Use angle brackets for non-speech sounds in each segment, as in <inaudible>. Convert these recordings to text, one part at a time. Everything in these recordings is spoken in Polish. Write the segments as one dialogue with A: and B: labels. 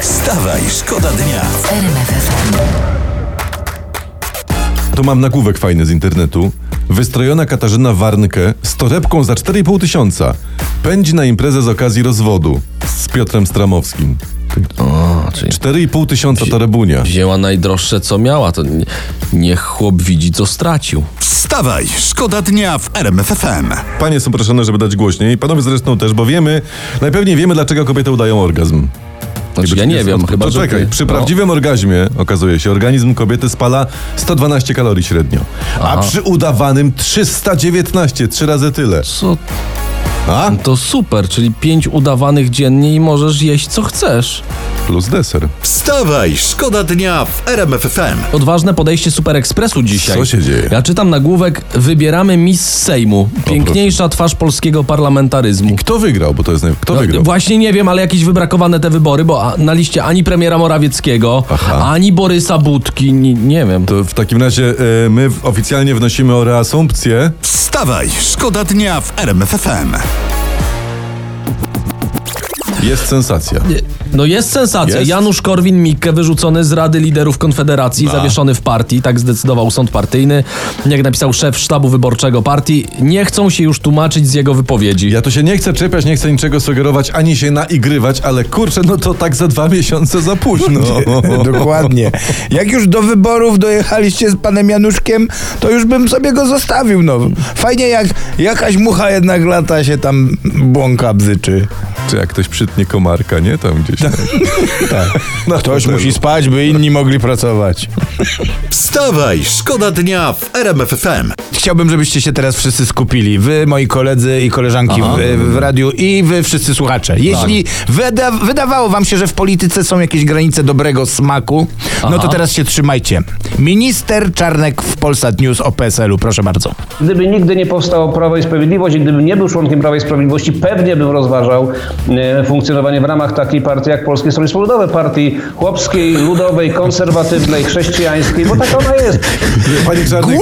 A: Wstawaj, szkoda dnia.
B: RMF FM.
C: Tu mam nagłówek fajny z internetu. Wystrojona Katarzyna Warnke z torebką za 4,5 tysiąca pędzi na imprezę z okazji rozwodu z Piotrem Stramowskim.
D: O, czyli
C: 4,5 tysiąca torebunia.
D: wzięła najdroższe, co miała. To nie- niech chłop widzi, co stracił.
A: Wstawaj, szkoda dnia w RMFFM.
C: Panie są proszone, żeby dać głośniej. Panowie zresztą też, bo wiemy, najpewniej wiemy, dlaczego kobiety udają orgazm.
D: Znaczy, ja nie wiem, chyba że
C: Poczekaj,
D: ty-
C: przy
D: no.
C: prawdziwym orgazmie, okazuje się, organizm kobiety spala 112 kalorii średnio, a przy udawanym 319, trzy razy tyle.
D: Co?
C: A?
D: To super, czyli pięć udawanych dziennie i możesz jeść, co chcesz.
C: Plus deser.
A: Wstawaj, szkoda dnia w RMFFM.
D: Odważne podejście Super Expressu dzisiaj.
C: Co się dzieje?
D: Ja czytam nagłówek Wybieramy Miss Sejmu. Piękniejsza twarz polskiego parlamentaryzmu.
C: Kto wygrał? Bo to jest. naj- Kto wygrał?
D: No, Właśnie nie wiem, ale jakieś wybrakowane te wybory, bo a- na liście ani premiera Morawieckiego,
C: Aha.
D: ani Borysa Budki, nie, nie wiem.
C: To w takim razie e, my w- oficjalnie wnosimy o reasumpcję.
A: Wstawaj, szkoda dnia w RMFFM.
C: Jest sensacja.
D: No jest sensacja.
C: Jest?
D: Janusz Korwin-Mikke wyrzucony z Rady Liderów Konfederacji, zawieszony w partii, tak zdecydował sąd partyjny. Jak napisał szef sztabu wyborczego partii, nie chcą się już tłumaczyć z jego wypowiedzi.
C: Ja tu się nie chcę czepiać, nie chcę niczego sugerować, ani się naigrywać, ale kurczę, no to tak za dwa <laughs> miesiące za późno.
E: No. <laughs> Dokładnie. Jak już do wyborów dojechaliście z panem Januszkiem, to już bym sobie go zostawił. No. Fajnie jak jakaś mucha jednak lata się tam błąka, bzyczy.
C: <laughs> Czy jak ktoś przytnie komarka, nie? Tam gdzieś.
E: Tak.
C: Na
E: Ktoś
C: fotelu.
E: musi spać, by inni mogli pracować.
A: Wstawaj, szkoda dnia w RMFFM.
E: Chciałbym, żebyście się teraz wszyscy skupili. Wy, moi koledzy i koleżanki w, w radiu i wy wszyscy słuchacze. Jeśli wyda, wydawało wam się, że w polityce są jakieś granice dobrego smaku, no to teraz się trzymajcie. Minister Czarnek w Polsat News o PSL-u, proszę bardzo.
F: Gdyby nigdy nie powstało Prawo i Sprawiedliwość i gdybym nie był członkiem Prawa i Sprawiedliwości, pewnie bym rozważał e, funkcjonowanie w ramach takiej partii jak Polskie Stronnictwo Ludowe, partii chłopskiej, ludowej, konserwatywnej, chrześcijańskiej, bo taka ona jest.
C: <laughs> Panie Czarnek,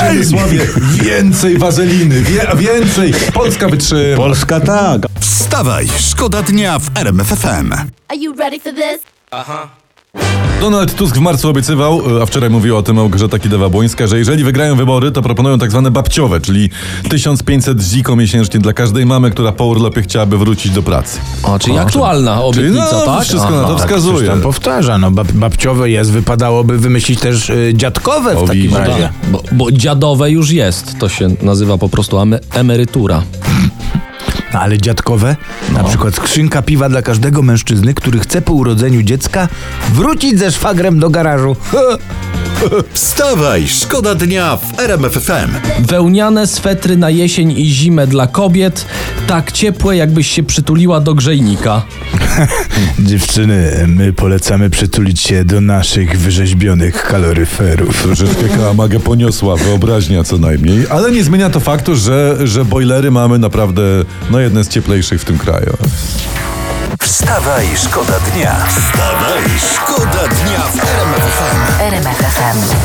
C: Przemysławie, więcej wazeliny, wie, więcej. Polska wytrzyma.
E: Polska tak.
A: Wstawaj, szkoda dnia w RMFFM.
G: Are you ready for this?
C: Donald Tusk w marcu obiecywał, e, a wczoraj mówiła o tym Małgorzata Kidawa-Błońska, że jeżeli wygrają wybory, to proponują tak zwane babciowe, czyli 1500 ziko miesięcznie dla każdej mamy, która po urlopie chciałaby wrócić do pracy.
D: A, czyli aktualna
C: Czyli
D: obietnica,
C: no,
D: tak?
C: wszystko
D: Aha.
C: na to
E: Coś
C: wskazuje.
E: tam powtarza, no bab babciowe jest, wypadałoby wymyślić też y, dziadkowe w takim
C: widzisz.
E: razie.
D: Bo, bo dziadowe już jest. To się nazywa po prostu ame- emerytura.
E: No, ale dziadkowe? Na przykład skrzynka piwa dla każdego mężczyzny, który chce po urodzeniu dziecka wrócić ze szwagrem do garażu. <laughs>
A: Wstawaj, szkoda dnia w RMFFM.
D: Wełniane swetry na jesień i zimę dla kobiet, tak ciepłe, jakbyś się przytuliła do grzejnika.
E: Dziewczyny, my polecamy przytulić się do naszych wyrzeźbionych kaloryferów.
C: Troszeczkę kałamagę poniosła, wyobraźnia co najmniej, ale nie zmienia to faktu, że, że bojlery mamy naprawdę no, jedne z cieplejszych w tym kraju.
A: Wstawaj, szkoda dnia. Wstawaj, szkoda dnia w RMFFM.
B: RMF FM.